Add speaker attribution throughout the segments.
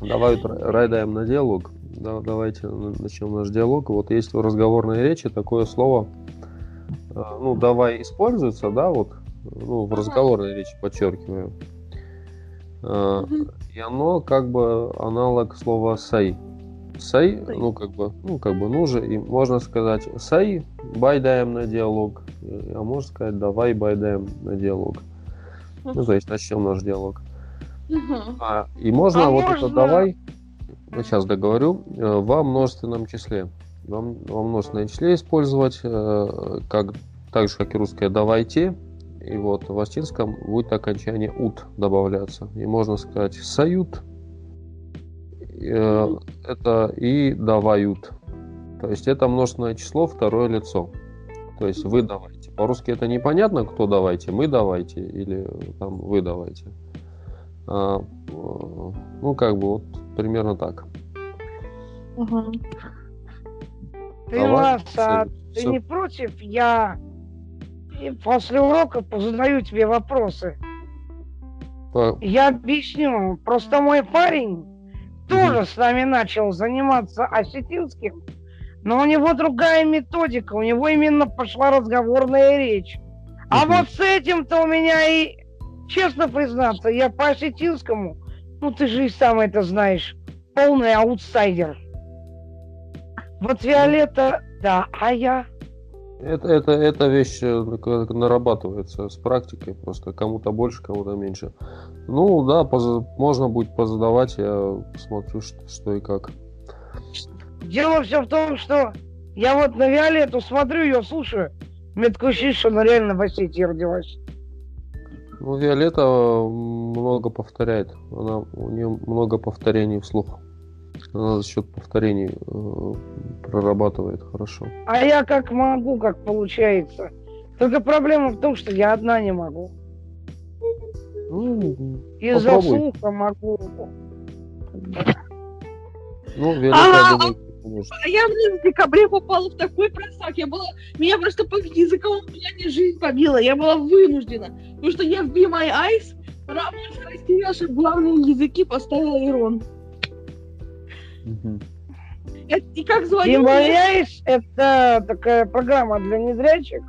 Speaker 1: Давай райдаем на диалог. Да, давайте начнем наш диалог. Вот есть в разговорной речи такое слово, ну, давай используется, да, вот, ну, в разговорной речи подчеркиваю. Э, И оно как бы аналог слова сай. Сай, ну как бы, ну как бы, ну же, и можно сказать сай, байдаем на диалог, а можно сказать давай байдаем на диалог. Ну, то есть начнем наш диалог. Угу. А, и можно а вот можно... это давай, сейчас договорю, э, во множественном числе. Во, во множественном числе использовать, э, как, так же, как и русское «давайте». И вот в астинском будет окончание «ут» добавляться. И можно сказать «сают», угу. это и «давают». То есть это множественное число, второе лицо. То есть вы давайте. По-русски это непонятно, кто давайте, мы давайте или э, там вы давайте. А, ну, как бы вот примерно так.
Speaker 2: Угу. Ты, а Ласа, ты все... не против? Я И после урока позадаю тебе вопросы. Так. Я объясню. Просто мой парень тоже угу. с нами начал заниматься осетинским, но у него другая методика. У него именно пошла разговорная речь. А угу. вот с этим-то у меня и честно признаться, я по осетинскому, ну ты же и сам это знаешь, полный аутсайдер. Вот Виолетта, да, а я?
Speaker 1: Это, это, это вещь э, нарабатывается с практикой просто. Кому-то больше, кому-то меньше. Ну да, поз- можно будет позадавать, я посмотрю, что, что и как.
Speaker 2: Дело все в том, что я вот на Виолетту смотрю, ее слушаю. Мне такое ощущение, что она реально в Осетии родилась.
Speaker 1: Ну, Виолетта много повторяет. Она, у нее много повторений вслух. Она за счет повторений э, прорабатывает хорошо.
Speaker 2: А я как могу, как получается. Только проблема в том, что я одна не могу. Ну, Из-за слуха могу.
Speaker 1: Ну, Виолетта, а, я думаю,
Speaker 3: может. А я блин, в декабре попала в такой просак. Я была... Меня просто по языковому плане жизнь побила. Я была вынуждена. Потому что я в Be My Eyes Рамос Растиняша главные языки поставила Ирон. Угу. Это, и как звонил...
Speaker 2: Be My Eyes — это такая программа для незрячих,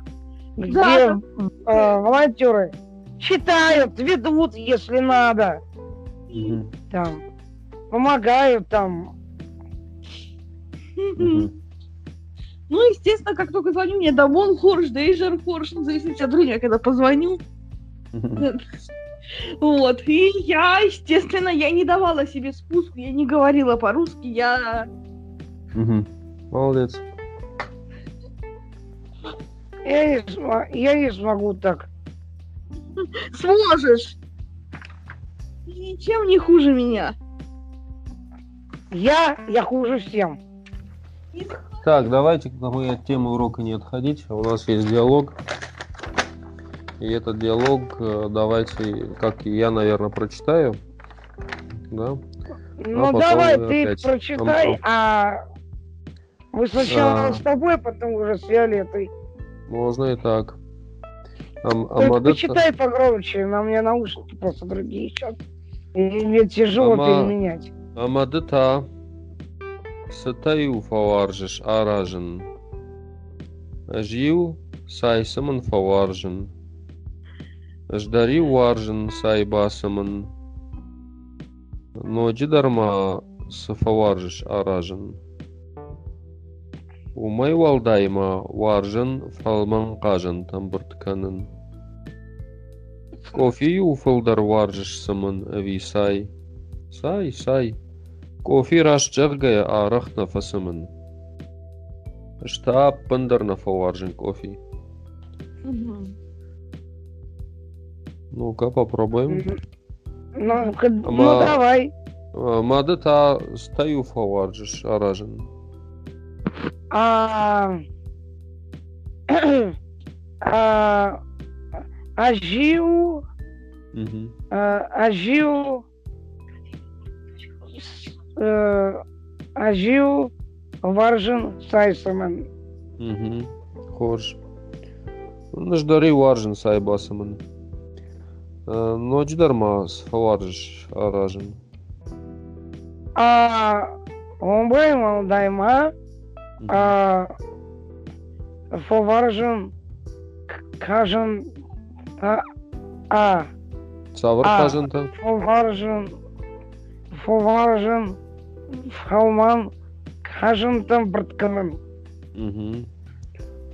Speaker 2: да, где да. Э, волонтеры читают, ведут, если надо. Угу. Там помогают там
Speaker 3: ну, естественно, как только звоню, мне да вон хорш, да и жар хорш, ну, зависит от времени, когда позвоню. Вот, и я, естественно, я не давала себе спуску, я не говорила по-русски, я...
Speaker 1: Молодец.
Speaker 2: Я не, см- я не смогу так.
Speaker 3: Сможешь. Ничем не хуже меня.
Speaker 2: Я, я хуже всем.
Speaker 1: Так, давайте мы от темы урока не отходить. У нас есть диалог. И этот диалог э, давайте, как я, наверное, прочитаю. Да?
Speaker 2: Ну а давай ты опять... прочитай, а мы сначала а... с тобой, потом уже с Виолетой.
Speaker 1: Можно и так.
Speaker 2: Ам, Только Амадетта... почитай погромче, на мне наушники просто другие сейчас. И мне тяжело Ама... переменять.
Speaker 1: Амадыта Сатаю фаваржиш аражин. E Жил сайсаман фаваржин. Ждари варжин сайбасаман. Ноджи дарма сафаваржиш аражин. Умай валдайма варжин фалман кажин там буртканын. Кофе уфылдар варжиш саман ависай. Сай, сай. Кофираш жергая арах нафасымын. Штаб пындар нафаваржин кофе. Ну-ка, попробуем.
Speaker 2: Ну, ну давай.
Speaker 1: Мады та стою фаваржиш аражин.
Speaker 2: А... А... Ажиу... э, Ажиу... Ажил э, Варжин Сайсаман.
Speaker 1: Угу. Хорж. Наждари Варжин Сайбасаман. Ah, Ночь дарма с Варж Аражин.
Speaker 2: а, hombre Малдайма а, фоваржым, кажым, а, а,
Speaker 1: Савр
Speaker 2: А.
Speaker 1: кажында.
Speaker 2: фоваржым, фоваржым, халман, кажымтым бірткіным.
Speaker 1: Мгм.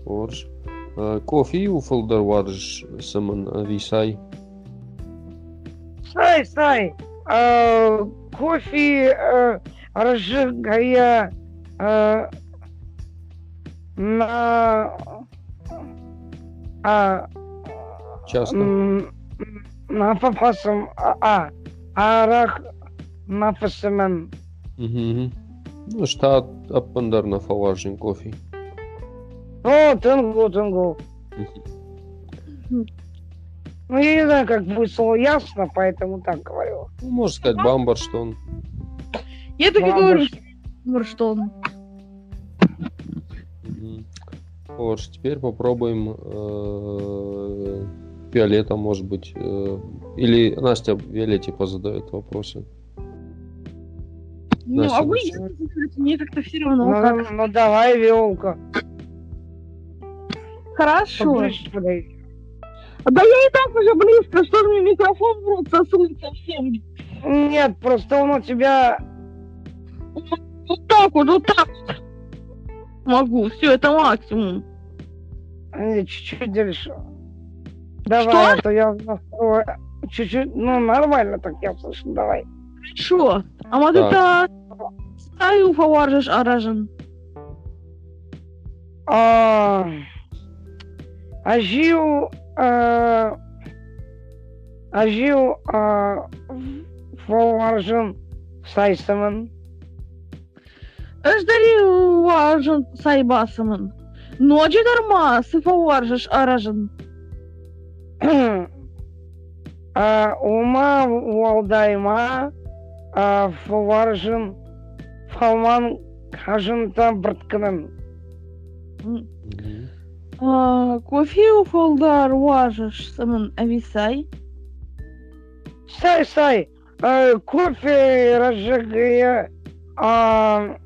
Speaker 1: Орж. Э, Кофе уфылдар варж сымын висай.
Speaker 2: Сай, сай, а, кофе э, разжигая э, на... А, Mm.
Speaker 1: Часто.
Speaker 2: м, на фафасом, а, а, арах на фасамен.
Speaker 1: Мгм. Ну, штат аппандарна фаваржин кофе.
Speaker 2: О, тенгу, тенгу.
Speaker 3: Мгм.
Speaker 2: Ну, я не знаю, как будет слово ясно, поэтому так говорю.
Speaker 1: Ну, можно сказать, бамбар, что он.
Speaker 3: Я так и
Speaker 2: Бабушка.
Speaker 3: говорю, что- говорю, что он
Speaker 1: Мгм. Вот, ж теперь попробуем э, Виолетта, может быть. э, Или Настя Виолетте позадает вопросы.
Speaker 3: Ну,
Speaker 1: Настя,
Speaker 3: а вы,
Speaker 1: Настя.
Speaker 3: если смотрите, мне как-то все равно.
Speaker 2: Ну,
Speaker 3: как.
Speaker 2: ну, давай, Виолка,
Speaker 3: Хорошо. А
Speaker 2: поближе подойди.
Speaker 3: Да я и так уже близко, что мне микрофон в рот сосует совсем.
Speaker 2: Нет, просто он у тебя
Speaker 3: Вот так вот, вот так вот. Могу, все, это максимум.
Speaker 2: Не, э, чуть-чуть дальше. Давай, а то я настроила. Чуть-чуть, ну нормально так я слышу, давай.
Speaker 3: Хорошо. А вот это... Стаю фаваржиш аражен.
Speaker 2: А, ажил, а, ажил, а, фолваржен сайсаман.
Speaker 3: Эждари варжен сайбасаман. Ночи а дарма сы фаваржиш аражен.
Speaker 2: А, ума уалдайма, а, фолваржен фалман кажента бртканан.
Speaker 3: М.
Speaker 1: Мгм.
Speaker 3: А, Кофе у фолдар варжиш саман ависай.
Speaker 2: Стой, стой. Э, кофе разжигая а,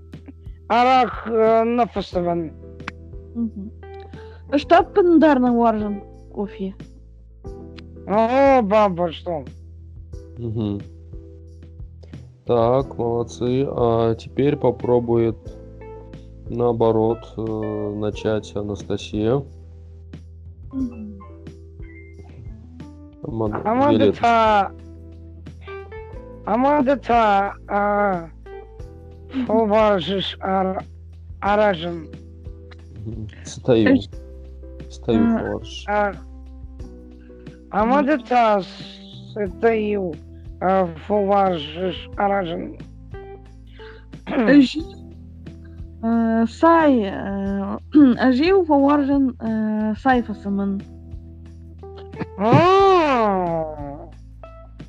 Speaker 2: арах э, нафасован.
Speaker 3: Мгм. Штаб пандарна варжен кофе.
Speaker 2: О, баба, что?
Speaker 1: Мгм. Так, молодцы. А теперь попробует наоборот э, начать Анастасия.
Speaker 3: Мгм.
Speaker 1: Мад-
Speaker 2: Аманда
Speaker 1: Виолетта.
Speaker 2: та... Аманда та... А, уважишь ар, аражен.
Speaker 1: Мгм. Стою. Стою,
Speaker 3: А.
Speaker 1: Фаварж.
Speaker 2: А, Аманда та... Сетаю... Фуваржиш аражен.
Speaker 3: Ажи- Э, Сай, э, ажил фаваржен э, сайфасамын.
Speaker 2: А,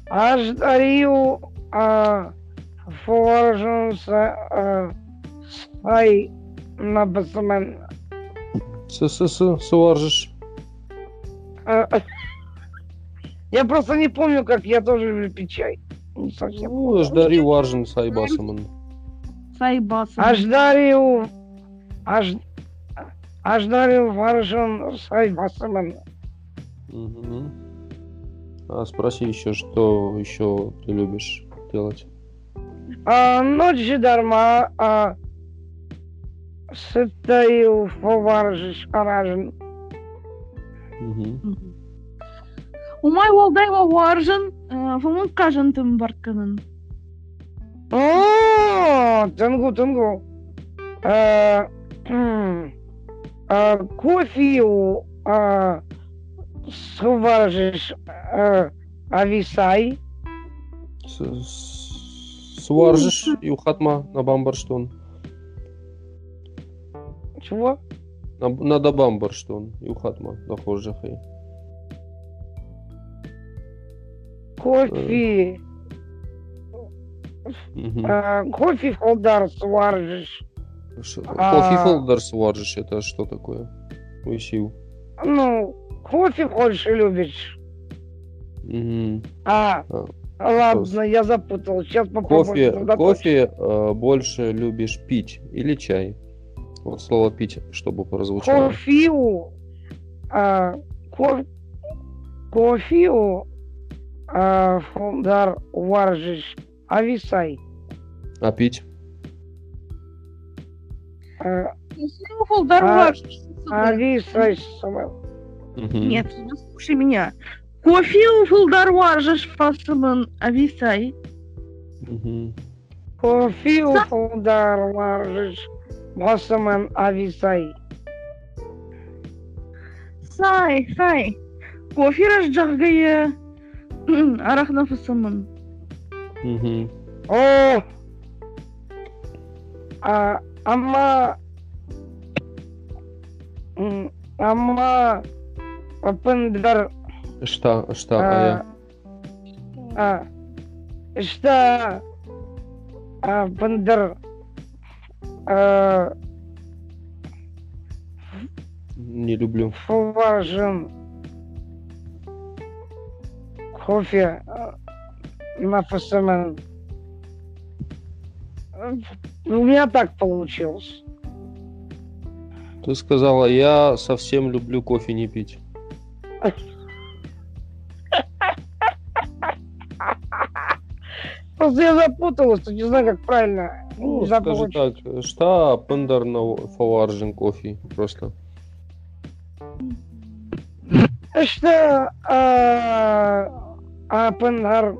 Speaker 2: Аж дарил а, форжунса а, сай на басмен.
Speaker 1: С-с-с, Суаржиш.
Speaker 2: А, Я просто не помню, как я тоже люблю чай. Не совсем.
Speaker 1: Ну, ждари Варжин Сайбасаман.
Speaker 3: Сайбасамын.
Speaker 2: Аж дарил аж аж дарил форжун сай басмен.
Speaker 1: Мгм. А спроси еще, что еще ты любишь делать?
Speaker 2: А, ночи дарма а, сетаю форжиш аражен.
Speaker 1: Мгм.
Speaker 3: Мгм. Умай уалдай фаваржен э, фамын кажантым барканын.
Speaker 2: О, тенгу, тенгу. Э, м, э, Кофе у, э, сваржишь э, ависай.
Speaker 1: С- с- Суаржиш и Ухатма на Бамбарштон.
Speaker 2: Чего?
Speaker 1: На- Надо Бамбарштон и Ухатма дохожихай.
Speaker 2: Кофе.
Speaker 1: Мгм.
Speaker 2: э, Кофе холдар сваржишь.
Speaker 1: Ш-
Speaker 2: а-
Speaker 1: Кофе Холдер Суаржиш это что такое? Уисил.
Speaker 2: Ну, кофе больше любишь.
Speaker 1: Мгм.
Speaker 2: А, Ладно, я запутал. Сейчас попробую.
Speaker 1: Кофе,
Speaker 2: сосредоточиться.
Speaker 1: кофе э, больше любишь пить или чай? Вот слово пить, чтобы прозвучало.
Speaker 2: Кофею. а, ко- кофею. а, фондар варжиш. Ависай.
Speaker 1: А пить?
Speaker 2: А,
Speaker 3: Ну, Снюхал, дарваш, что с тобой?
Speaker 2: Ависай. сама-
Speaker 1: Мгм.
Speaker 3: Нет, ну, слушай меня. Кофе у Фолдарваржаш фасабан ависай.
Speaker 1: Мгм.
Speaker 2: Кофею фондар варжиш. Басаман ависай.
Speaker 3: Сай, сай. Кофе рожджагая арахнафасаман.
Speaker 1: Мгм.
Speaker 2: О! А, ама... М, Ама... Папандар...
Speaker 1: Шта, шта, а
Speaker 2: А,
Speaker 1: я.
Speaker 2: а, Что... А, Пандар... а,
Speaker 1: Не люблю.
Speaker 2: Фуважин... Кофе... а, Нафасамен... У меня так получилось.
Speaker 1: Ты сказала, я совсем люблю кофе не пить.
Speaker 2: Просто я запуталась, тут не знаю, как правильно.
Speaker 1: Ну,
Speaker 2: Не
Speaker 1: скажи
Speaker 2: запомнил.
Speaker 1: так, шта пендар на фаваржин кофе просто.
Speaker 2: Что а, Апендар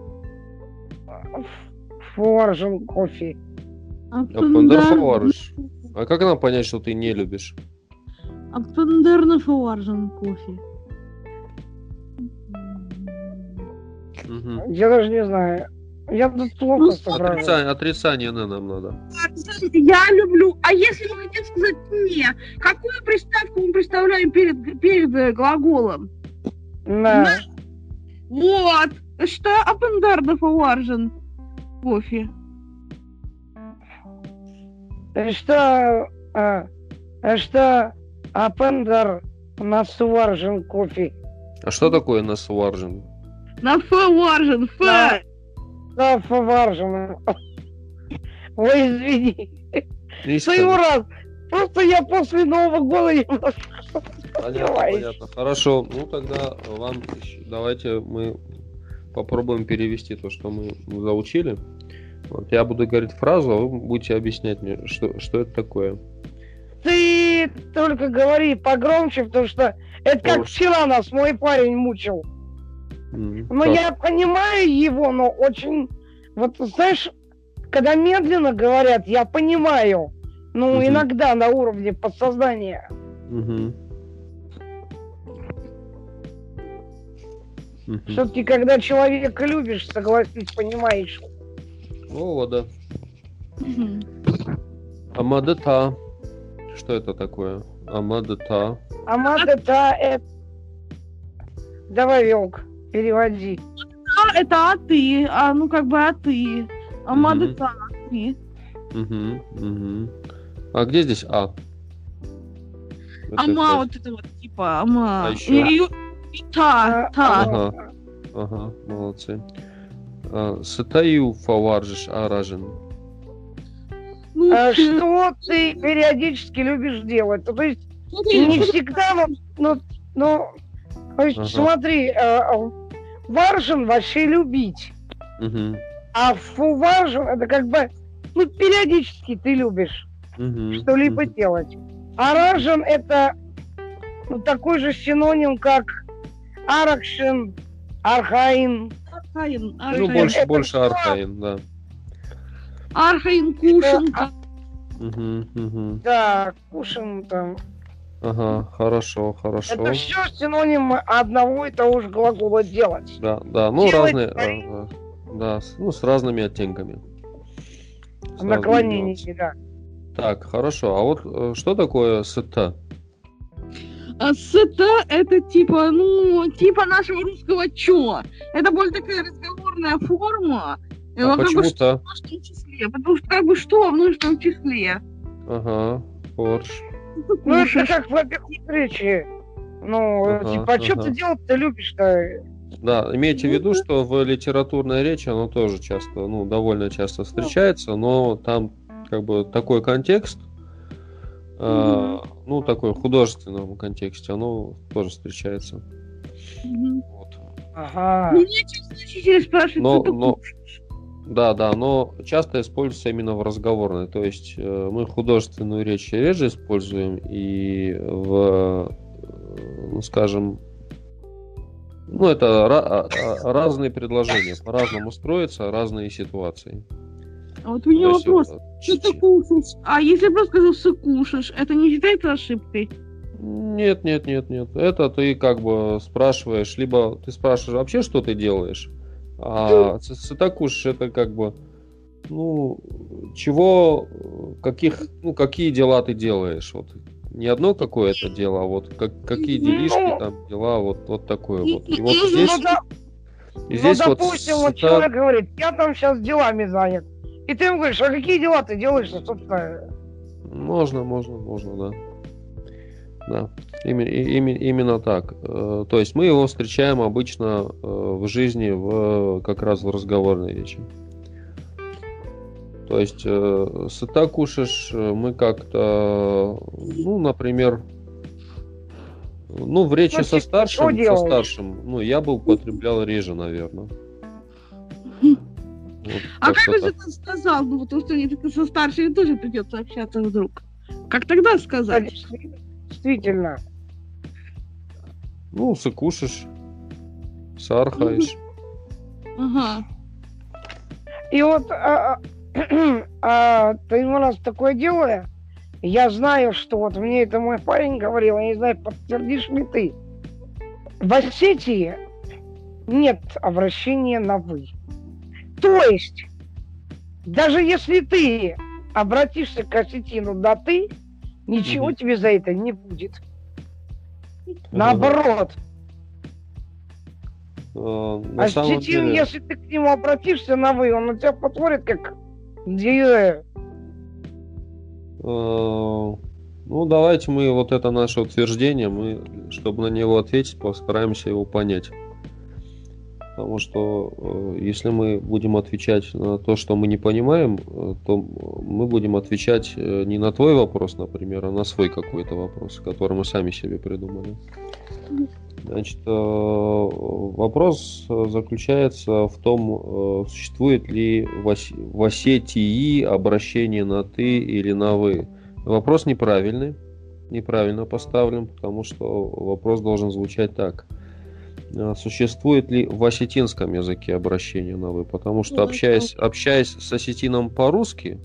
Speaker 2: Форжен кофе.
Speaker 1: А пендар фаварж. А как нам понять, что ты не любишь?
Speaker 3: Аппендерна фаваржан кофе.
Speaker 1: Мгм.
Speaker 2: Я даже не знаю. Я тут плохо
Speaker 3: Ну,
Speaker 2: соображаю.
Speaker 1: Отрицание, отрицание «н» нам надо.
Speaker 3: Я люблю. А если мы хотим сказать не, какую приставку мы представляем перед, перед э, глаголом?
Speaker 2: На
Speaker 3: Вот. Что аппендерна фаваржан кофе?
Speaker 2: что а, что Апендар на Суаржен кофе.
Speaker 1: А что такое насваржин?
Speaker 3: На фаваржан, фа.
Speaker 2: Да. На Фаваржен. Ой, извини. Своего раз. Просто я после Нового года немножко
Speaker 1: Понятно,
Speaker 2: Давай.
Speaker 1: понятно. Хорошо, ну тогда вам ещё- давайте мы попробуем перевести то, что мы заучили. Вот, я буду говорить фразу, а вы будете объяснять мне, что, что это такое.
Speaker 2: Ты только говори погромче, потому что это как
Speaker 1: Слушай.
Speaker 2: вчера нас мой парень мучил.
Speaker 1: М,
Speaker 2: Но
Speaker 1: так.
Speaker 2: Ну, я понимаю его, но очень... Вот знаешь, когда медленно говорят, я понимаю. Ну,
Speaker 1: Мгм.
Speaker 2: иногда на уровне подсознания.
Speaker 1: Мгм. Мгм.
Speaker 2: Все-таки, когда человека любишь, согласись, понимаешь.
Speaker 1: О, да.
Speaker 3: Мгм.
Speaker 1: Амадата. Что это такое? Амадата.
Speaker 2: А мата та это... Давай, Велк, переводи.
Speaker 3: А, это а ты, а ну как бы а ты. А
Speaker 1: Мгм.
Speaker 3: мада та, а ты.
Speaker 1: Мгм, мгм. А где здесь А? Это
Speaker 3: Ама
Speaker 1: как?
Speaker 3: вот это вот типа ама.
Speaker 1: А
Speaker 3: И,
Speaker 1: ещё?
Speaker 3: и- и та,
Speaker 2: А,
Speaker 3: та.
Speaker 1: Ага. Ага, молодцы. А, Сатаю фаваржиш аражин.
Speaker 3: Ну,
Speaker 2: А
Speaker 3: ты-
Speaker 2: что ты периодически любишь делать? То есть
Speaker 3: ну,
Speaker 2: И
Speaker 3: ты-
Speaker 2: не всегда, но, но, но то есть,
Speaker 1: Ага.
Speaker 2: смотри, э, э, важен вообще любить,
Speaker 1: Мгм,
Speaker 2: а фу важен это как бы ну периодически ты любишь
Speaker 1: мгм,
Speaker 2: что-либо
Speaker 1: мгм.
Speaker 2: делать, а ражен это ну, такой же синоним как аракшин, архаин,
Speaker 3: Архаин,
Speaker 1: Ну,
Speaker 3: архаин.
Speaker 1: больше,
Speaker 2: Это
Speaker 1: больше
Speaker 2: всё.
Speaker 1: архаин, да.
Speaker 3: Архаин, Кушенко.
Speaker 1: Мгм, мгм.
Speaker 2: да, кушин там.
Speaker 1: Ага, хорошо, хорошо.
Speaker 2: Это все синонимы одного и того же глагола делать.
Speaker 1: Да, да, ну
Speaker 2: делать
Speaker 1: разные,
Speaker 2: свои.
Speaker 1: а, да, с- ну с разными оттенками. С разными
Speaker 2: Наклонение, да.
Speaker 1: нюансами. Так, хорошо. А вот э, что такое сета?
Speaker 3: А сета это типа, ну, типа нашего русского чё. Это более такая разговорная форма. И
Speaker 1: А
Speaker 3: вот как бы Ну, что
Speaker 1: почему-то?
Speaker 3: в множественном числе. Потому что как бы что в множественном числе.
Speaker 1: Ага, форш.
Speaker 3: Ну,
Speaker 2: Ну, это как в обе встречи. Ну,
Speaker 1: Ага,
Speaker 2: типа, а что
Speaker 1: ага.
Speaker 2: ты делать-то любишь-то?
Speaker 1: Да, имейте в виду, что в литературной речи оно тоже часто, ну, довольно часто встречается, но там как бы такой контекст, э, ну, такой в художественном контексте, оно тоже встречается.
Speaker 3: Мгм.
Speaker 1: Вот.
Speaker 2: Ага.
Speaker 3: Меня часто учитель спрашивает,
Speaker 1: Но-
Speaker 3: что такое.
Speaker 1: но- Да, да, но часто используется именно в разговорной. То есть э, мы художественную речь реже используем и в, э, ну, скажем, ну это ра- а- а- разные предложения, по-разному строятся, разные ситуации.
Speaker 3: А вот у меня
Speaker 1: То есть,
Speaker 3: вопрос. Ну,
Speaker 1: э,
Speaker 3: Что ты
Speaker 1: ч-
Speaker 3: кушаешь? А если просто сказал, что кушаешь, это не считается ошибкой?
Speaker 1: Нет, нет, нет, нет. Это ты как бы спрашиваешь, либо ты спрашиваешь вообще, что ты делаешь,
Speaker 2: Ну.
Speaker 1: а ц- цитакуш это как бы, ну, чего, э, каких, ну, какие дела ты делаешь, вот. Не одно какое-то дело, а вот как, какие делишки там, дела, вот, вот такое вот. И вот
Speaker 3: Ну,
Speaker 1: здесь,
Speaker 2: Ну, да-
Speaker 1: и
Speaker 2: ну,
Speaker 1: здесь вот
Speaker 2: допустим, вот
Speaker 1: цита-
Speaker 2: человек говорит, я там сейчас делами занят. И ты ему говоришь, а какие дела ты делаешь, собственно?
Speaker 1: Можно, можно, можно, да. Да, Име- и- име- именно так. Э, То есть мы его встречаем обычно э, в жизни, в, как раз в разговорной речи. То есть э, сыта кушаешь, э, мы как-то, ну, например, ну, в речи со
Speaker 2: Спроси,
Speaker 1: старшим,
Speaker 2: что
Speaker 1: со
Speaker 2: делал?
Speaker 1: старшим, ну, я бы употреблял реже, наверное. Вот
Speaker 3: А
Speaker 1: как-то
Speaker 3: как же
Speaker 1: так.
Speaker 3: ты сказал? Ну, потому что мне так со старшими тоже придется общаться вдруг. Как тогда
Speaker 2: Да,
Speaker 3: сказать?
Speaker 2: Действительно.
Speaker 1: Ну, сыкушишь, сархаешь.
Speaker 3: Ага.
Speaker 2: И вот а, а, а, ты ему раз такое дело, я знаю, что вот мне это мой парень говорил, я не знаю, подтвердишь ли ты. В Осетии нет обращения на «вы». То есть, даже если ты обратишься к осетину на «ты», ничего
Speaker 1: Мгм. Ну
Speaker 2: тебе за это не будет. Наоборот,
Speaker 1: Э, На
Speaker 2: А
Speaker 1: самом
Speaker 2: Осетин,
Speaker 1: деле, э,
Speaker 2: если ты к нему обратишься на вы, он на тебя посмотрит как... «Деревья».
Speaker 1: э, ну давайте мы вот это наше утверждение, мы, чтобы на него ответить, постараемся его понять. Потому что э, если мы будем отвечать на то, что мы не понимаем, э, то мы будем отвечать э, не на твой вопрос, например, а на свой какой-то вопрос, который мы сами себе придумали. Значит, э, вопрос э, заключается в том, э, существует ли в Ос- в Осетии обращение на «ты» или на «вы». Вопрос неправильный, неправильно поставлен, потому что вопрос должен звучать так. Э, Существует ли в осетинском языке обращение на «вы», потому что,
Speaker 3: Ну,
Speaker 1: общаясь, общаясь с осетином по-русски,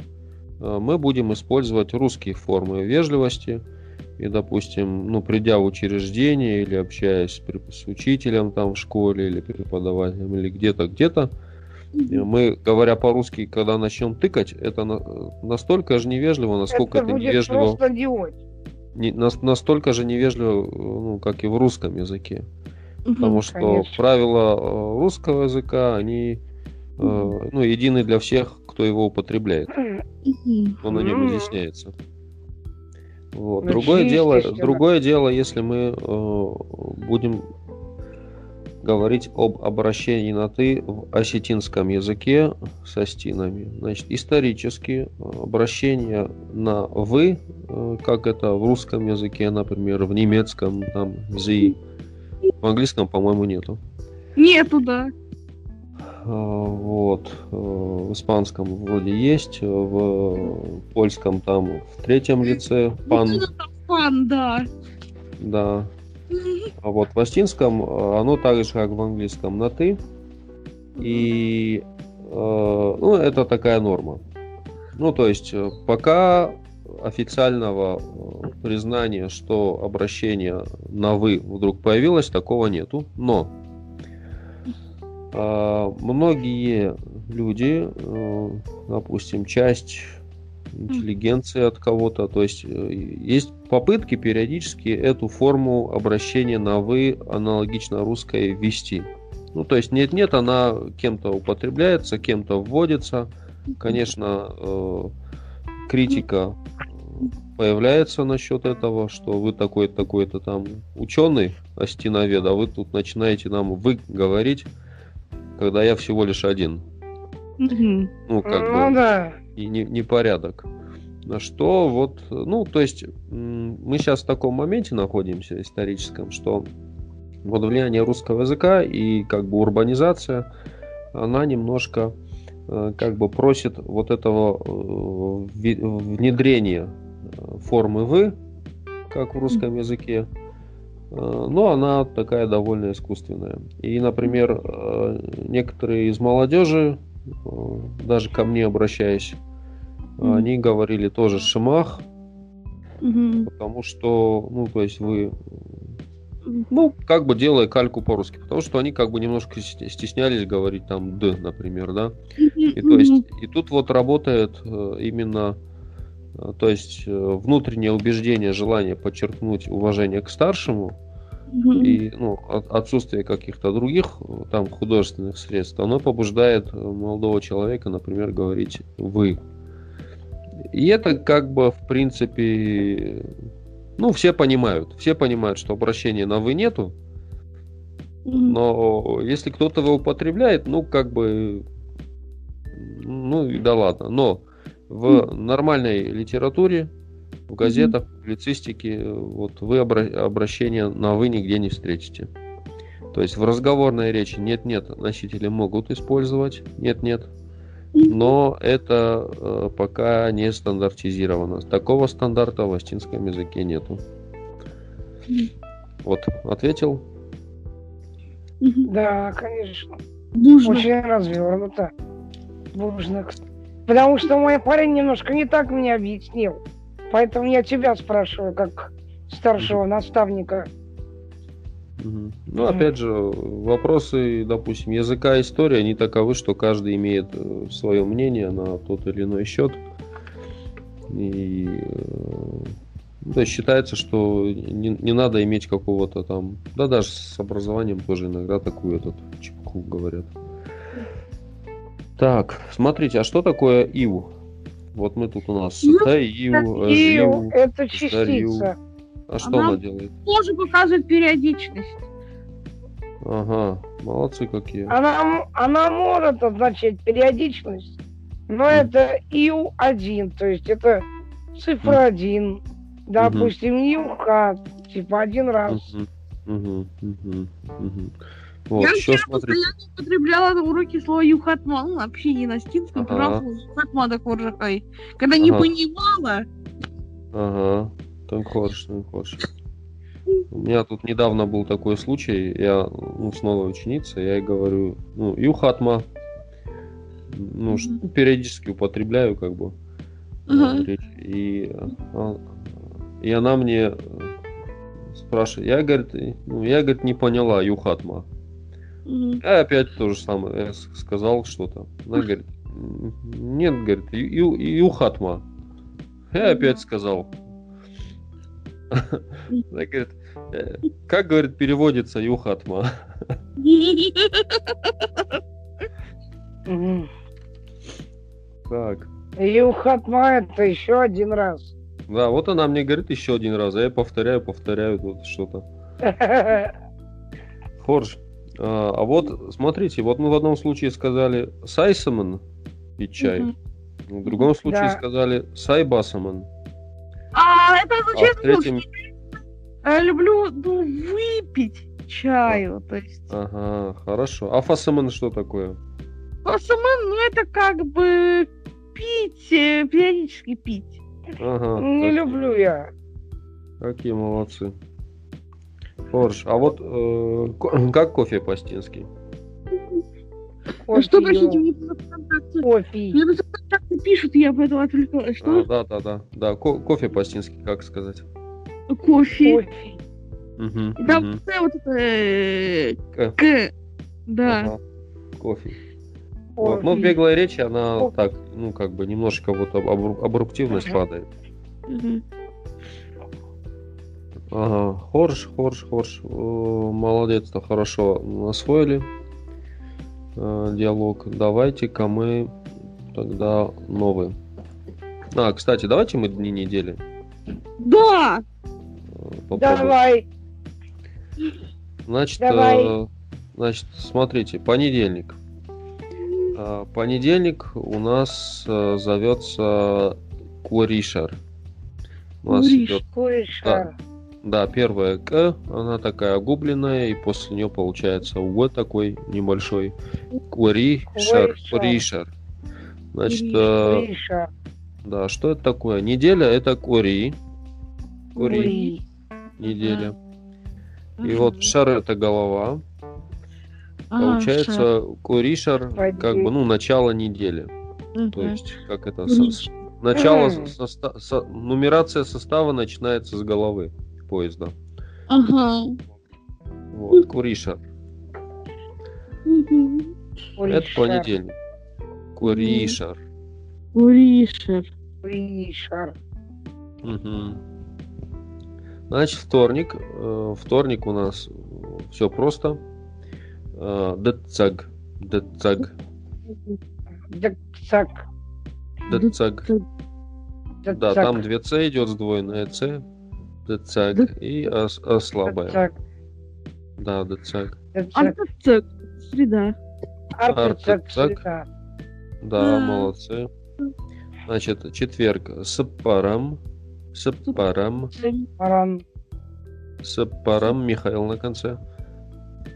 Speaker 1: э, мы будем использовать русские формы вежливости – и, допустим, ну, придя в учреждение или общаясь с при- с учителем там в школе или преподавателем или где-то, где-то, э, мы, говоря по-русски, когда начнем тыкать, это на- э, настолько же невежливо, насколько это,
Speaker 2: это будет
Speaker 1: невежливо,
Speaker 2: просто идиот.
Speaker 1: не- нас- настолько же невежливо, э, ну, как и в русском языке. Потому что
Speaker 2: конечно.
Speaker 1: правила э, русского языка, они э,
Speaker 3: Мгм.
Speaker 1: ну, едины для всех, кто его употребляет.
Speaker 3: Мгм.
Speaker 1: но на нем
Speaker 2: Мгм.
Speaker 1: изъясняется. Вот.
Speaker 2: Ну,
Speaker 1: Другое дело,
Speaker 2: естественно.
Speaker 1: другое дело, если мы э, будем говорить об обращении на ты в осетинском языке со стинами. Значит, исторически э, обращение на вы, э, как это в русском языке, например, в немецком там зи, в английском, по-моему, нету.
Speaker 3: Нету, да.
Speaker 1: Э, Вот. э, В испанском вроде есть, э, в польском там в третьем лице пан,
Speaker 3: Вот это там пан, да.
Speaker 1: да.
Speaker 3: Мгм.
Speaker 1: А вот в остинском э, оно так же, как в английском, на ты. И э, ну, это такая норма. Ну, то есть, э, пока официального э, признания, что обращение на вы вдруг появилось, такого нету. Но э, многие люди, э, допустим, часть интеллигенции от кого-то, то есть э, есть попытки периодически эту форму обращения на вы аналогично русской ввести. Ну, то есть нет-нет, она кем-то употребляется, кем-то вводится. Конечно, э, критика э, появляется насчет этого, что вы такой-то, такой-то там ученый, остиновед, а вы тут начинаете нам вы говорить, когда я всего лишь один.
Speaker 3: Мгм.
Speaker 1: Ну, как бы,
Speaker 2: Ну да.
Speaker 1: и не- непорядок. На что вот, ну, то есть м, мы сейчас в таком моменте находимся историческом, что вот влияние русского языка и как бы урбанизация, она немножко э, как бы просит вот этого э, ви- внедрения э, формы «вы», как в русском языке, э, но она такая довольно искусственная. И, например, э, некоторые из молодежи, э, даже ко мне обращаясь,
Speaker 3: Мгм.
Speaker 1: они говорили тоже шимах,
Speaker 3: Мгм.
Speaker 1: потому что, ну, то есть вы, ну, как бы делая кальку по-русски, потому что они как бы немножко сте- стеснялись говорить там «д», например, да, и то есть, и тут вот работает э, именно, э, то есть э, внутреннее убеждение, желание подчеркнуть уважение к старшему
Speaker 3: Мгм.
Speaker 1: и ну, от- отсутствие каких-то других э, там художественных средств, оно побуждает э, молодого человека, например, говорить вы. И это как бы в принципе, э, ну все понимают, все понимают, что обращения на вы нету,
Speaker 3: Мгм.
Speaker 1: но если кто-то его употребляет, ну, как бы, ну, и да ладно. Но в нормальной литературе, в газетах, публицистике, э, вот вы обра- обращение на «вы» нигде не встретите. То есть в разговорной речи «нет-нет» носители могут использовать «нет-нет», но это э, пока не стандартизировано. Такого стандарта в остинском языке нету.
Speaker 3: Мгм.
Speaker 1: Вот, ответил?
Speaker 3: Мгм.
Speaker 2: Да, конечно.
Speaker 3: Нужно.
Speaker 2: Очень развернуто. Нужно. Потому что мой парень немножко не так мне объяснил. Поэтому я тебя спрашиваю, как старшего наставника.
Speaker 1: Мгм. Ну,
Speaker 2: Мгм.
Speaker 1: опять же, вопросы, допустим, языка и истории, они таковы, что каждый имеет э, свое мнение на тот или иной счет. И э, ну, то есть считается, что не, не надо иметь какого-то там, да даже с образованием тоже иногда такую этот чепку говорят. Так, смотрите, а что такое ИУ? Вот мы тут у нас
Speaker 3: Ну,
Speaker 1: ТАИУ,
Speaker 2: И
Speaker 1: ЖИУ.
Speaker 2: это
Speaker 1: старью.
Speaker 2: частица.
Speaker 1: А что
Speaker 3: Она-
Speaker 1: она делает?
Speaker 3: Тоже показывает периодичность.
Speaker 1: Ага, молодцы какие.
Speaker 2: Она, м- она может означать периодичность, но это ИУ-1, то есть это цифра 1. Допустим, ЮК, типа один раз.
Speaker 1: Мгм, мгм, мгм, мгм.
Speaker 3: Я
Speaker 1: Вот, еще
Speaker 3: вчера
Speaker 1: смотрите.
Speaker 3: постоянно употребляла на уроке слово юхатма. Ну, вообще не на стинском,
Speaker 1: Ага.
Speaker 3: пожалуйста, юхатма такой ржакай. Когда не
Speaker 1: Ага.
Speaker 3: понимала,
Speaker 1: Ага. Там хорош, там хорош. У меня тут недавно был такой случай, я ну, с новой ученицей, я ей говорю, ну, юхатма, ну, ш-
Speaker 3: Мгм.
Speaker 1: периодически употребляю, как бы,
Speaker 3: Ага.
Speaker 1: вот, речь. И, э, а- и она мне э, спрашивает, я, говорит, э, ну, я, говорит, не поняла юхатма.
Speaker 3: Мгм.
Speaker 1: Я А опять то же самое я с- сказал что-то. Она говорит, «М, нет, говорит, ю- ю- юхатма. Я
Speaker 3: Мгм.
Speaker 1: опять сказал. Она говорит, «Э, как, говорит, переводится юхатма?
Speaker 2: Мгм.
Speaker 1: Так.
Speaker 2: Юхатма это еще один раз.
Speaker 1: Да, вот она мне говорит еще один раз, а я повторяю, повторяю тут что-то. Хорж, а а вот смотрите, вот мы в одном случае сказали сайсаман и чай,
Speaker 3: Мгм.
Speaker 1: в другом случае
Speaker 2: Да.
Speaker 1: сказали сайбасаман,
Speaker 3: А, это
Speaker 1: а
Speaker 3: означает,
Speaker 1: в
Speaker 3: ну,
Speaker 1: третьем
Speaker 3: что я люблю ну, выпить чаю. То есть,
Speaker 1: Ага, хорошо. А фасамен что такое?
Speaker 3: осмн, ну, это как бы пить, э, периодически пить.
Speaker 1: Ага. так-
Speaker 2: Не люблю я.
Speaker 1: Какие молодцы. Хорж, а вот э, ко- как кофе по-стински?
Speaker 3: А что,
Speaker 2: Кофе,
Speaker 3: простите, мне просто ВКонтакте-
Speaker 2: кофе.
Speaker 3: Мне просто ВКонтакте пишут, и я поэтому отвлекалась. Что?
Speaker 1: А, да, да, да. Да, ко- кофе по-стински, как сказать? А.
Speaker 3: Кофе.
Speaker 2: Кофе.
Speaker 1: Мгм,
Speaker 3: И Там
Speaker 1: мгм.
Speaker 3: Т вот это... э,
Speaker 1: К.
Speaker 3: К. Да.
Speaker 1: Ага, Кофе. Вот.
Speaker 2: кофе.
Speaker 1: Ну, в беглой речи она
Speaker 2: Кофе.
Speaker 1: так, ну, как бы немножко вот об- обру- обруктивность
Speaker 2: Мгм.
Speaker 1: падает.
Speaker 3: Мгм.
Speaker 1: Ага, Хорш, Хорш, Хорш. Э, Молодец-то, хорошо освоили э, диалог. Давайте-ка мы тогда новый. А, кстати, давайте мы дни недели э,
Speaker 3: Да!
Speaker 1: попробуем.
Speaker 2: Давай.
Speaker 1: Значит,
Speaker 2: Давай.
Speaker 1: э, значит, смотрите, понедельник. Э, Понедельник у нас э, зовется Куришер. У нас
Speaker 3: Куриш.
Speaker 1: идет, А,
Speaker 2: Куришар.
Speaker 1: да, первая К, она такая огубленная, и после нее получается Уг такой небольшой. Куришер.
Speaker 2: Куришер.
Speaker 1: Куришер. Значит,
Speaker 3: Куриш.
Speaker 1: э,
Speaker 2: Куришар.
Speaker 1: да, что это такое? Неделя это Кури. Кури,
Speaker 3: Кури.
Speaker 1: неделя. И
Speaker 3: Мгм.
Speaker 1: вот шар это голова,
Speaker 3: А, шар.
Speaker 1: Получается, куришар
Speaker 2: Пойди.
Speaker 1: как бы, ну, начало недели.
Speaker 3: Мгм.
Speaker 1: То есть, как это, со-
Speaker 3: Куриш.
Speaker 1: с- начало,
Speaker 2: М.
Speaker 1: соста- со- нумерация состава начинается с головы поезда.
Speaker 3: Ага.
Speaker 1: Вот, куришар.
Speaker 3: Мгм.
Speaker 1: Это
Speaker 2: Куришар.
Speaker 1: понедельник. Куришар.
Speaker 3: Куришер.
Speaker 2: Куришар.
Speaker 1: Мгм. Значит, вторник. Э, Вторник у нас все просто. Э, Децаг. Децаг.
Speaker 2: Даксак.
Speaker 1: Децаг. Да,
Speaker 2: Даксак.
Speaker 1: там две С идет, сдвоенная С. Децаг. И а, с- а, слабая.
Speaker 2: Даксак.
Speaker 1: Да, децак.
Speaker 2: Даксак.
Speaker 3: Артецек. А Среда.
Speaker 2: а,
Speaker 1: а,
Speaker 2: Артецак.
Speaker 1: Артецак.
Speaker 2: Среда.
Speaker 1: Да,
Speaker 3: А.
Speaker 1: молодцы. Значит, четверг. Сапарам. Сапарам.
Speaker 2: Парам.
Speaker 1: Сапарам. Михаил на конце.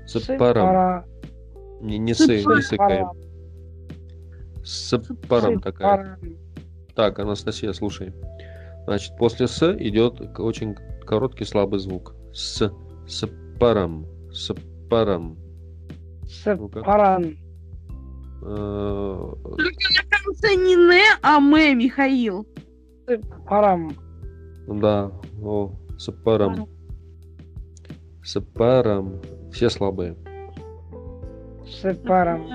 Speaker 1: Сапарам.
Speaker 2: Сыпара.
Speaker 1: Не, не сы, не сыкаем.
Speaker 2: Сыпарам.
Speaker 1: Сапарам такая.
Speaker 2: Сыпарам.
Speaker 1: Так, Анастасия, слушай. Значит, после С идет к- очень короткий слабый звук. С. Сапарам. Сапарам. Ну-ка.
Speaker 2: Сыпарам.
Speaker 1: Э,
Speaker 3: Только на конце не «не», а «мэ», Михаил.
Speaker 2: Сыпарам.
Speaker 1: Да, о, сапарам. Сапарам. Все слабые.
Speaker 2: Сыпарам.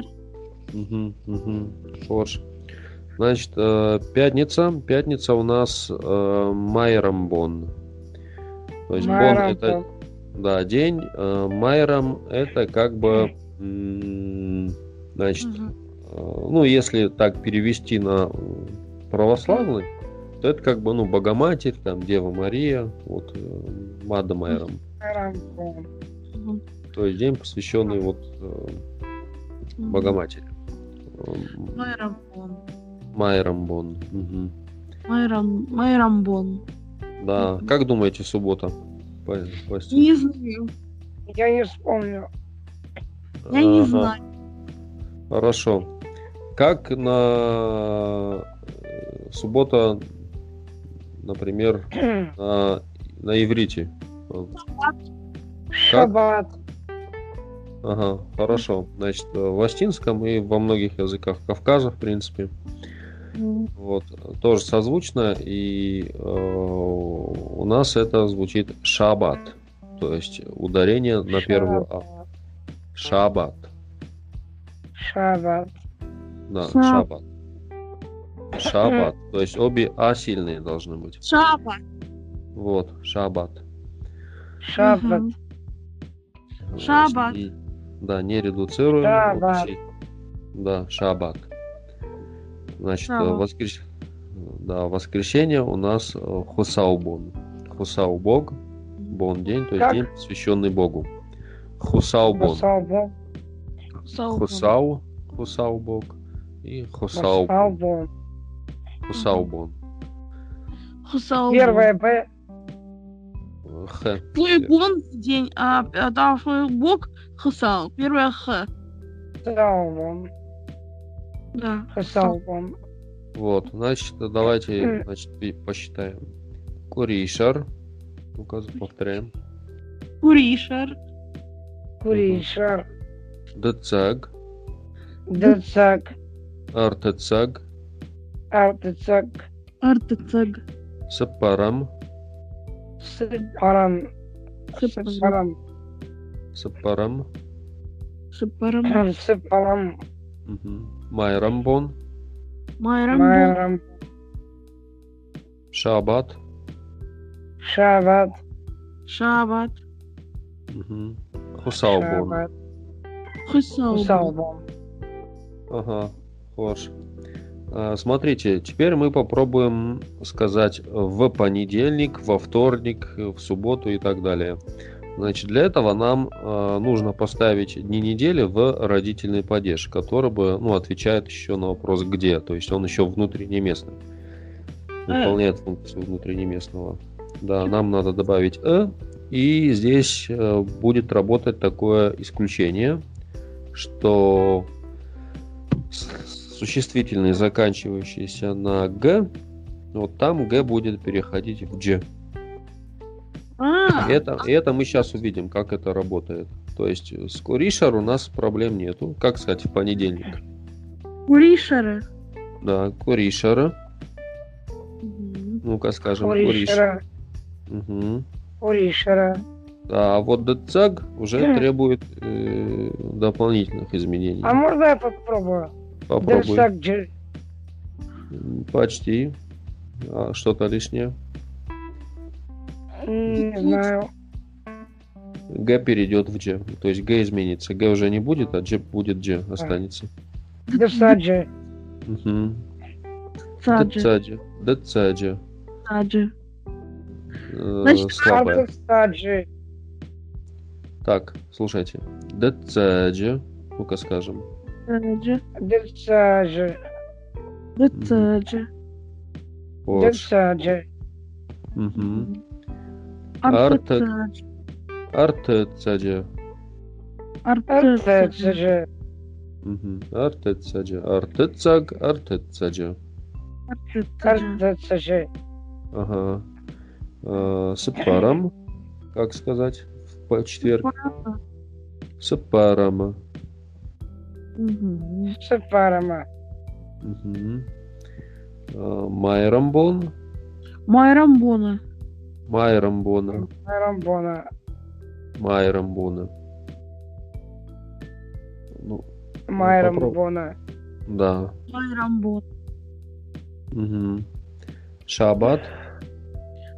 Speaker 1: Мгм, мгм. Что ж. Значит, э, пятница. Пятница у нас э, Майрамбон. То есть бон это
Speaker 2: Марамбон.
Speaker 1: да, день. э, Майрам это как бы м, значит,
Speaker 3: Мгм.
Speaker 1: э, ну, если так перевести на э, православный, то это как бы ну Богоматерь, там Дева Мария, вот э, Мада Майрам.
Speaker 2: Марамбон.
Speaker 3: Мгм.
Speaker 1: То есть день, посвященный вот э, Богоматери.
Speaker 3: Ну,
Speaker 1: Эм,
Speaker 3: Майрамбон.
Speaker 1: Майрамбон. Мгм.
Speaker 3: Майрам... Майрамбон.
Speaker 1: Да.
Speaker 3: Мгм.
Speaker 1: Как думаете, суббота? Па- Пасти?
Speaker 3: Не знаю.
Speaker 2: Я не вспомню.
Speaker 3: Я не
Speaker 1: Ага,
Speaker 3: знаю.
Speaker 1: Хорошо. Как на э, суббота, например, на, на иврите? Э,
Speaker 2: Шаббат.
Speaker 1: Ага, хорошо. Значит, э, в ластинском и во многих языках Кавказа, в принципе, Вот, тоже созвучно, и э, у нас это звучит шаббат, то есть ударение на первую А. Шаббат,
Speaker 2: Шаббат. Шаббат.
Speaker 1: да,
Speaker 3: Шаб-
Speaker 1: шаббат. Шаббат, то есть обе А сильные должны быть.
Speaker 3: Шаба.
Speaker 1: Вот, шаббат.
Speaker 2: Шаббат.
Speaker 3: Мгм. Шаббат.
Speaker 1: И- да, не редуцируем.
Speaker 2: Шаббат.
Speaker 1: Да, шаббат. Значит, э,
Speaker 3: Шаббат.
Speaker 1: воскрес- да, воскресенье у нас э, хусаубон. Хусаубог. Бон день, то есть
Speaker 2: Как?
Speaker 1: день, посвященный Богу. Хусаубон.
Speaker 2: Басалбон.
Speaker 3: Хусаубон.
Speaker 1: Хусау, Хусаубог и Хусаубон.
Speaker 2: Басалбон.
Speaker 1: Хусаубон.
Speaker 3: Хусаубон.
Speaker 2: Первое Б.
Speaker 1: Э, Х.
Speaker 3: Твой бон день, а, а там твой бог хусал. Первое х.
Speaker 2: Салбон.
Speaker 3: Да.
Speaker 2: Басалбон.
Speaker 1: Вот, значит, давайте
Speaker 2: М.
Speaker 1: значит, и посчитаем. Куришар. Ну-ка, повторяем.
Speaker 3: Куришер.
Speaker 2: Куришар.
Speaker 1: Децаг.
Speaker 2: Децак.
Speaker 1: Артецаг.
Speaker 2: Артецак.
Speaker 3: Артецег.
Speaker 1: Сапарам.
Speaker 2: Сыпарам. Сыпарам.
Speaker 1: Сапарам.
Speaker 3: Шепарам.
Speaker 2: Сыпарам.
Speaker 1: Мгм. Майрамбон.
Speaker 3: Майрамбон.
Speaker 2: Майрам.
Speaker 1: Шаббат.
Speaker 2: Шаббат.
Speaker 3: Шабат.
Speaker 1: Мгм. Хусаубон.
Speaker 2: Шаббат.
Speaker 3: Хусаубон.
Speaker 2: Салбон.
Speaker 1: Ага, хорош. А, Смотрите, теперь мы попробуем сказать в понедельник, во вторник, в субботу и так далее. Значит, для этого нам э, нужно поставить дни недели в родительный падеж, который бы, ну, отвечает еще на вопрос где, то есть он еще внутренне местный, выполняет функцию внутренне местного. Да, нам надо добавить э, и здесь э, будет работать такое исключение, что с- существительные, заканчивающиеся на г, вот там г будет переходить в дж.
Speaker 3: А,
Speaker 1: Это, это мы сейчас увидим, как это работает. То есть э, с Куришер у нас проблем нету. Как, кстати, в понедельник.
Speaker 3: Куришеры.
Speaker 1: Да, Куришера. Ну-ка скажем, Куришер.
Speaker 2: Оришера.
Speaker 1: Мгм.
Speaker 2: Оришера.
Speaker 1: Да, а вот Дцаг уже
Speaker 2: Мгм.
Speaker 1: требует э, дополнительных изменений.
Speaker 2: А можно я попробую?
Speaker 1: Попробуй.
Speaker 2: Дерсак Джи-
Speaker 1: М, Почти. А, что-то лишнее.
Speaker 2: Не знаю.
Speaker 1: Г перейдет в Дж. То есть Г изменится. Г уже не будет, а Дж будет Дж. Останется.
Speaker 2: Дерсаджи.
Speaker 1: Угу.
Speaker 3: Саджи.
Speaker 1: Дцаджи.
Speaker 3: Саджи.
Speaker 1: А Э,
Speaker 3: Значит,
Speaker 2: А
Speaker 1: слабая.
Speaker 2: Дерсаджи.
Speaker 1: Так, слушайте. Дцаджи. Ну-ка скажем.
Speaker 3: Саджи.
Speaker 2: Дерсаджи.
Speaker 3: Дцаджи.
Speaker 1: Вот.
Speaker 2: Дерсаджи.
Speaker 1: Мгм. Артек.
Speaker 3: Артек.
Speaker 1: Артецаджи.
Speaker 3: Артек.
Speaker 2: Артецаджи.
Speaker 1: Мгм. Артецаджи. Артецаг. Артецаджи.
Speaker 3: Артек.
Speaker 2: Артецаджи.
Speaker 1: Ага. Э, Сепарам. Как сказать? В по- четверг. Сепарама.
Speaker 3: Мгм.
Speaker 2: Сепарама.
Speaker 1: Мгм. Э, Майрамбон.
Speaker 3: Майрамбона.
Speaker 1: Майрамбона.
Speaker 2: Рамбона.
Speaker 1: Майрамбона. Ну,
Speaker 2: Майрамбона.
Speaker 1: да.
Speaker 3: Майрамбон.
Speaker 1: Мгм. Шабат.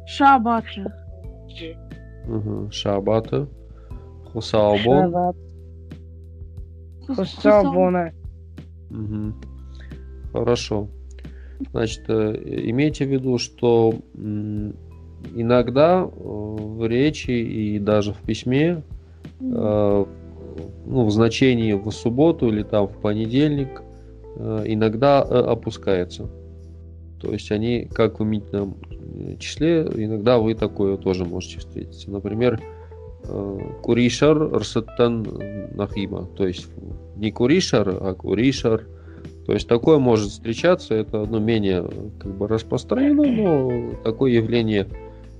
Speaker 3: Шабаджи.
Speaker 1: Мгм. Шабата. Хусаобон.
Speaker 2: Хусабона.
Speaker 1: Мгм. Хорошо. Значит, э, имейте в виду, что м, иногда э, в речи и даже в письме э, ну, в значении в субботу или там в понедельник э, иногда э, опускается. То есть они как в именительном э, числе, иногда вы такое тоже можете встретить. Например, э, куришар рсаттан нахима. То есть не куришар, а куришар. То есть такое может встречаться, это ну, менее э, как бы распространено, но такое явление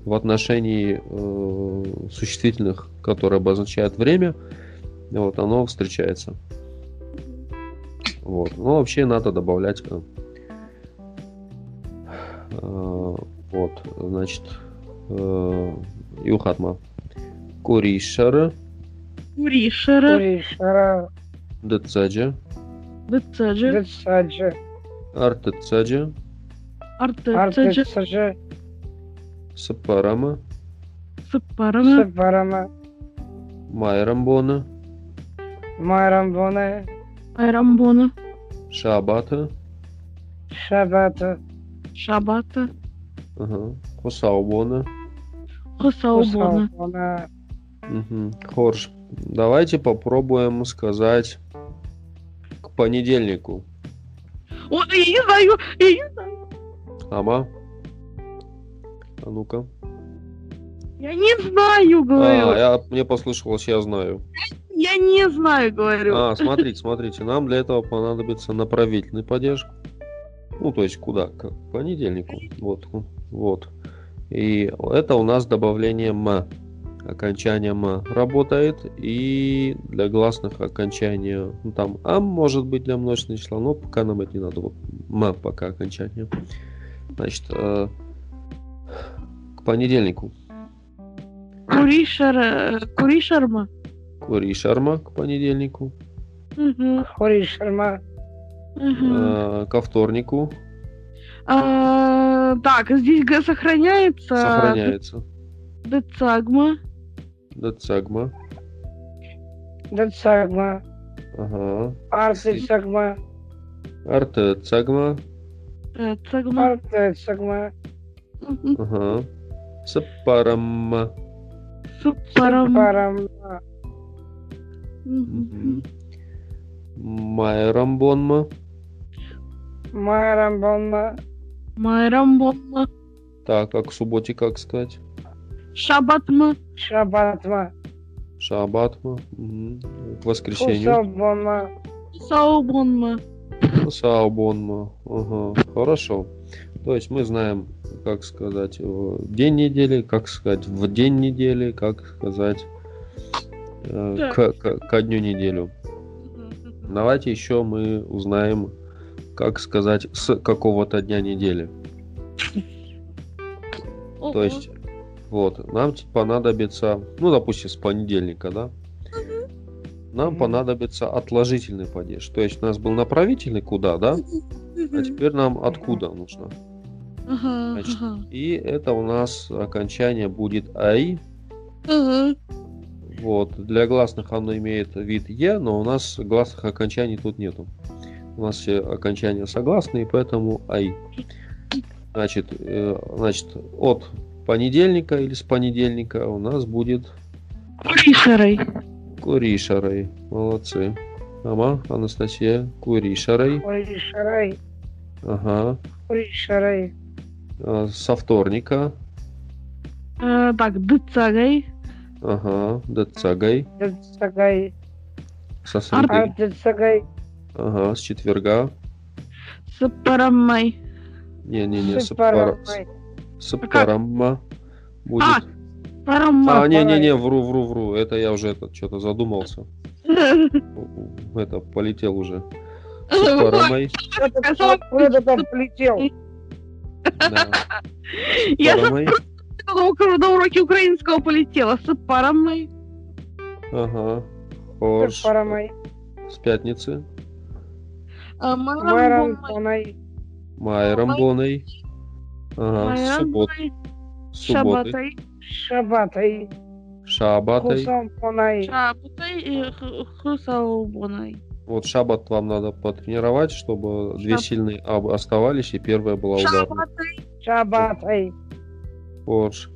Speaker 1: в отношении э, существительных, которые обозначают время, вот оно встречается. Вот. Но вообще надо добавлять. э, э, вот, значит, э, Юхатма. Куришара,
Speaker 3: Куришера.
Speaker 2: Уришера.
Speaker 1: Децаджа,
Speaker 3: Дцаджи.
Speaker 2: Дерсаджи.
Speaker 1: Артецаджа,
Speaker 3: Артек.
Speaker 2: Артецаджи.
Speaker 1: Сапарама,
Speaker 3: Сепарана.
Speaker 2: Сепарама.
Speaker 1: Майрамбона,
Speaker 2: Майрамбона.
Speaker 3: Майрамбона.
Speaker 1: Шабата,
Speaker 2: Шабата.
Speaker 3: Шабата.
Speaker 1: ага, Хусаубона,
Speaker 3: Хусаубона.
Speaker 2: Усалбона.
Speaker 1: Мгм. Хорж, давайте попробуем сказать к понедельнику.
Speaker 3: Ой, я не знаю. я не знаю.
Speaker 1: Ама. А ну-ка.
Speaker 3: Я не знаю,
Speaker 1: А,
Speaker 3: говорю.
Speaker 1: я, мне послышалось, я знаю.
Speaker 3: Я не знаю, говорю.
Speaker 1: А, смотрите, смотрите, нам для этого понадобится направительный падеж. Ну, то есть куда? К понедельнику. Вот, вот. И это у нас добавление «м». Окончание «м» работает, и для гласных окончания, ну, там «ам» может быть для множественного числа, но пока нам это не надо. Вот «м» пока окончание. Значит, э, к понедельнику.
Speaker 3: Куришера. э, Куришерма.
Speaker 1: Кури шарма к понедельнику.
Speaker 3: Мгм,
Speaker 2: Хури Шарма.
Speaker 3: мгм.
Speaker 1: Э, ко вторнику
Speaker 3: А, Так, здесь Г сохраняется.
Speaker 1: сохраняется.
Speaker 3: Децагма.
Speaker 1: Датсагма.
Speaker 2: Дерсагма.
Speaker 1: Ага.
Speaker 2: Артецагма.
Speaker 1: Артецагма.
Speaker 3: э, Децагма.
Speaker 2: Артецагма.
Speaker 1: Ага. Сапарамма.
Speaker 3: Шупарам.
Speaker 2: Парам.
Speaker 3: Мгм.
Speaker 1: Майрамбонма.
Speaker 2: Марам.
Speaker 3: Майрамбомба.
Speaker 1: Так, как в субботе, как сказать?
Speaker 3: Шабатма.
Speaker 2: Шабатма.
Speaker 1: Шабатма. Мгм. К воскресенью.
Speaker 2: Усабама.
Speaker 3: Саубонма.
Speaker 1: Саобонма. Ага, Хорошо. То есть мы знаем, как сказать э, день недели, как сказать в день недели, как сказать э,
Speaker 3: Да.
Speaker 1: к- к- ко дню неделю. Давайте еще мы узнаем, как сказать с какого-то дня недели.
Speaker 3: Ого.
Speaker 1: То есть, вот, нам т- понадобится, ну, допустим, с понедельника, да? Нам
Speaker 2: Мгм.
Speaker 1: понадобится отложительный падеж. То есть, у нас был направительный куда, да? А
Speaker 3: Мгм.
Speaker 1: теперь нам откуда нужно.
Speaker 3: Ага,
Speaker 1: значит,
Speaker 3: ага.
Speaker 1: И это у нас окончание будет ай.
Speaker 3: Ага.
Speaker 1: Вот, для гласных оно имеет вид е, но у нас гласных окончаний тут нету. У нас все окончания согласные, поэтому ай. Значит, э, значит, от понедельника или с понедельника у нас будет
Speaker 3: Куришерой.
Speaker 1: Куришарой. Молодцы. Ама, Анастасия, Куришарой.
Speaker 2: Ой, шарай.
Speaker 1: Ага.
Speaker 2: Ой, шарай.
Speaker 1: А, Со вторника.
Speaker 3: Э, Так, дыцагай.
Speaker 1: Ага. Дацагай.
Speaker 2: Дцагай.
Speaker 1: Со
Speaker 2: А,
Speaker 1: среды.
Speaker 2: Дцагай.
Speaker 1: Ага. С четверга.
Speaker 3: Сапарамай.
Speaker 1: Не-не-не. с
Speaker 2: Сыпарам.
Speaker 1: пара- с- Сапарамма.
Speaker 3: А,
Speaker 1: Будет. А,
Speaker 3: парама.
Speaker 1: не-не-не, вру, вру, вру. Это я уже этот что-то задумался. У- Это полетел уже. Сапарамай.
Speaker 2: Что ты там- Куда ты там полетел?
Speaker 1: Да.
Speaker 3: Я
Speaker 1: Сапарамай.
Speaker 3: забыла, у- на уроке украинского полетела. Сапарамай.
Speaker 1: Ага. Хорш.
Speaker 2: Сыпарамай.
Speaker 1: С пятницы.
Speaker 3: А,
Speaker 2: Марам.
Speaker 3: Марамбомай.
Speaker 2: Понай.
Speaker 1: Майрамбоной. Ага. С суббот.
Speaker 3: Марамбомай.
Speaker 1: С субботы.
Speaker 3: Шабатай.
Speaker 2: Шабатай.
Speaker 1: Шабатой.
Speaker 2: Кусам. Понай.
Speaker 3: Шабатай и ху- хусалбонай.
Speaker 1: Вот шабат вам надо потренировать, чтобы две
Speaker 3: Шаб-
Speaker 1: сильные аб оставались, и первая была ударной.
Speaker 3: Шабатай.
Speaker 2: Шабатай.
Speaker 1: Корж.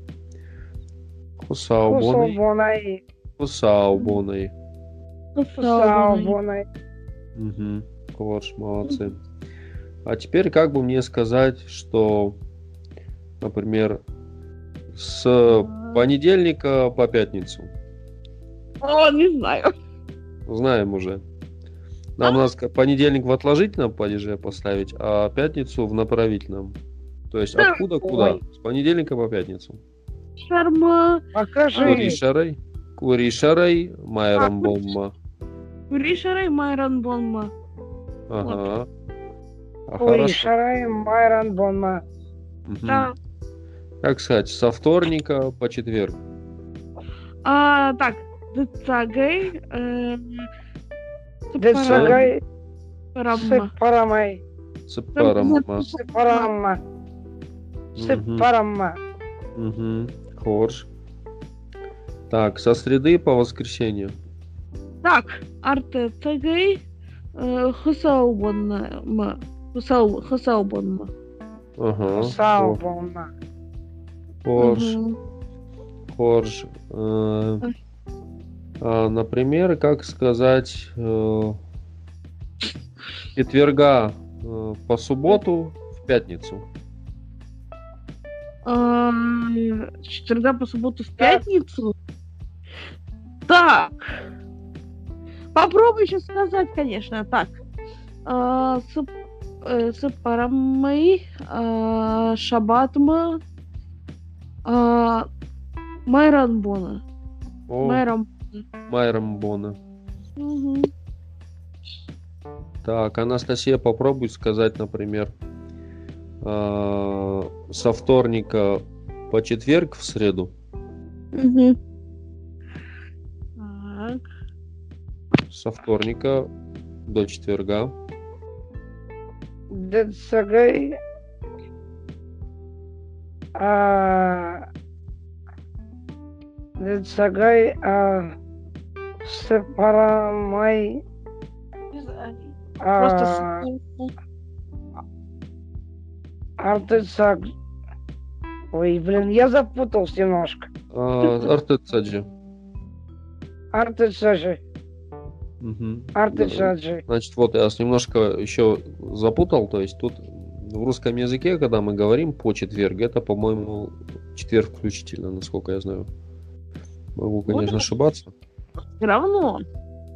Speaker 1: Хусаубоной.
Speaker 2: Кусабонай.
Speaker 1: Хусаубоной.
Speaker 3: Хусалбонай.
Speaker 2: Сабонай.
Speaker 1: Угу. Корж, молодцы. А теперь как бы мне сказать, что, например, с
Speaker 3: No.
Speaker 1: понедельника по пятницу.
Speaker 3: О, не знаю.
Speaker 1: Знаем уже. Нам надо ска- понедельник в отложительном падеже поставить, а пятницу в направительном. То есть
Speaker 3: Да.
Speaker 1: откуда куда?
Speaker 2: Ой.
Speaker 1: С понедельника по пятницу.
Speaker 3: Шарма.
Speaker 2: Покажи.
Speaker 1: Куришарай. Куришарай Майрамбомма.
Speaker 3: Куришерой Майранбомма.
Speaker 1: Ага. А
Speaker 2: Ой,
Speaker 1: хорошо.
Speaker 2: шарай. Майран. Бонма.
Speaker 1: Мгм.
Speaker 3: Да.
Speaker 1: Как сказать, со вторника по четверг.
Speaker 3: А, так, дыцагай.
Speaker 2: Дцагай.
Speaker 3: Парама.
Speaker 2: Сыпарамай.
Speaker 1: Сепарамма.
Speaker 2: Сыпарамма. Сыпарамма.
Speaker 1: Мгм. Хорш. Так, со среды по воскресенье.
Speaker 3: Так, арте цагай. y, Хусалбонма. Хусалбонма.
Speaker 1: Ага. Хор-
Speaker 2: Сабонма.
Speaker 1: Хорш.
Speaker 3: Mhm.
Speaker 1: Хорж. Э, а, Например, как сказать, э, с четверга э, по субботу в пятницу.
Speaker 3: С Эм, четверга по субботу в пятницу. Так. Попробуй еще сказать, конечно. Так. А, сып- э, Сыпарамай. а, Шабатма. а, Майранбона.
Speaker 1: О,
Speaker 3: Майрам.
Speaker 1: Майрамбона.
Speaker 3: Мгм.
Speaker 1: Так, Анастасия, попробуй сказать, например, э, со вторника по четверг в среду.
Speaker 3: Так.
Speaker 1: Со вторника до четверга.
Speaker 2: Дцагай. А... Дцагай. А... Сыпарамай.
Speaker 3: Просто
Speaker 2: А...
Speaker 3: с-
Speaker 2: Артыцаг. Ой, блин, я запутался немножко.
Speaker 1: А, Артецаджи.
Speaker 2: Артешаджи,
Speaker 1: Мгм.
Speaker 2: артешаджи.
Speaker 1: Значит, вот я с- немножко еще запутал, то есть тут в русском языке, когда мы говорим по четверг, это, по-моему, четверг включительно, насколько я знаю. Могу, конечно, ошибаться.
Speaker 3: Все равно.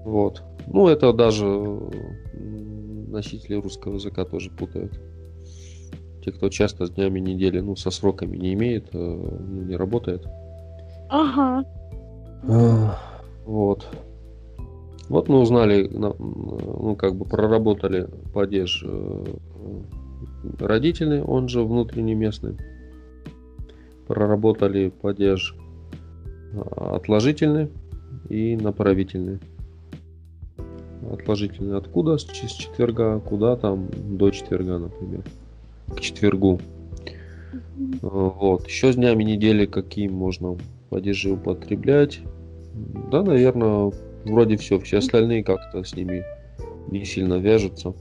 Speaker 1: Вот. Ну, это даже м, носители русского языка тоже путают. Те, кто часто с днями недели, ну, со сроками не имеет, э, ну, не работает.
Speaker 3: Ага.
Speaker 1: Ах, Вот. Вот мы узнали, на- ну, как бы проработали падеж э, родители, он же внутренний местный. Проработали падеж а, отложительный и направительный. Отложительный откуда? С ч- с четверга, куда там? До четверга, например. К четвергу. Э, Вот. Еще с днями недели какие можно падежи употреблять. Да, наверное, вроде все. Все остальные как-то с ними не сильно вяжутся.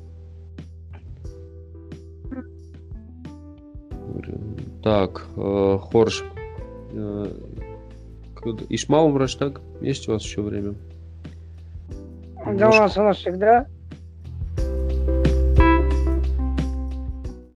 Speaker 1: Так, э, Хорш. э, куда- Ишмаум Раштаг, есть у вас еще время?
Speaker 2: До
Speaker 1: Немножко.
Speaker 2: нас у нас всегда.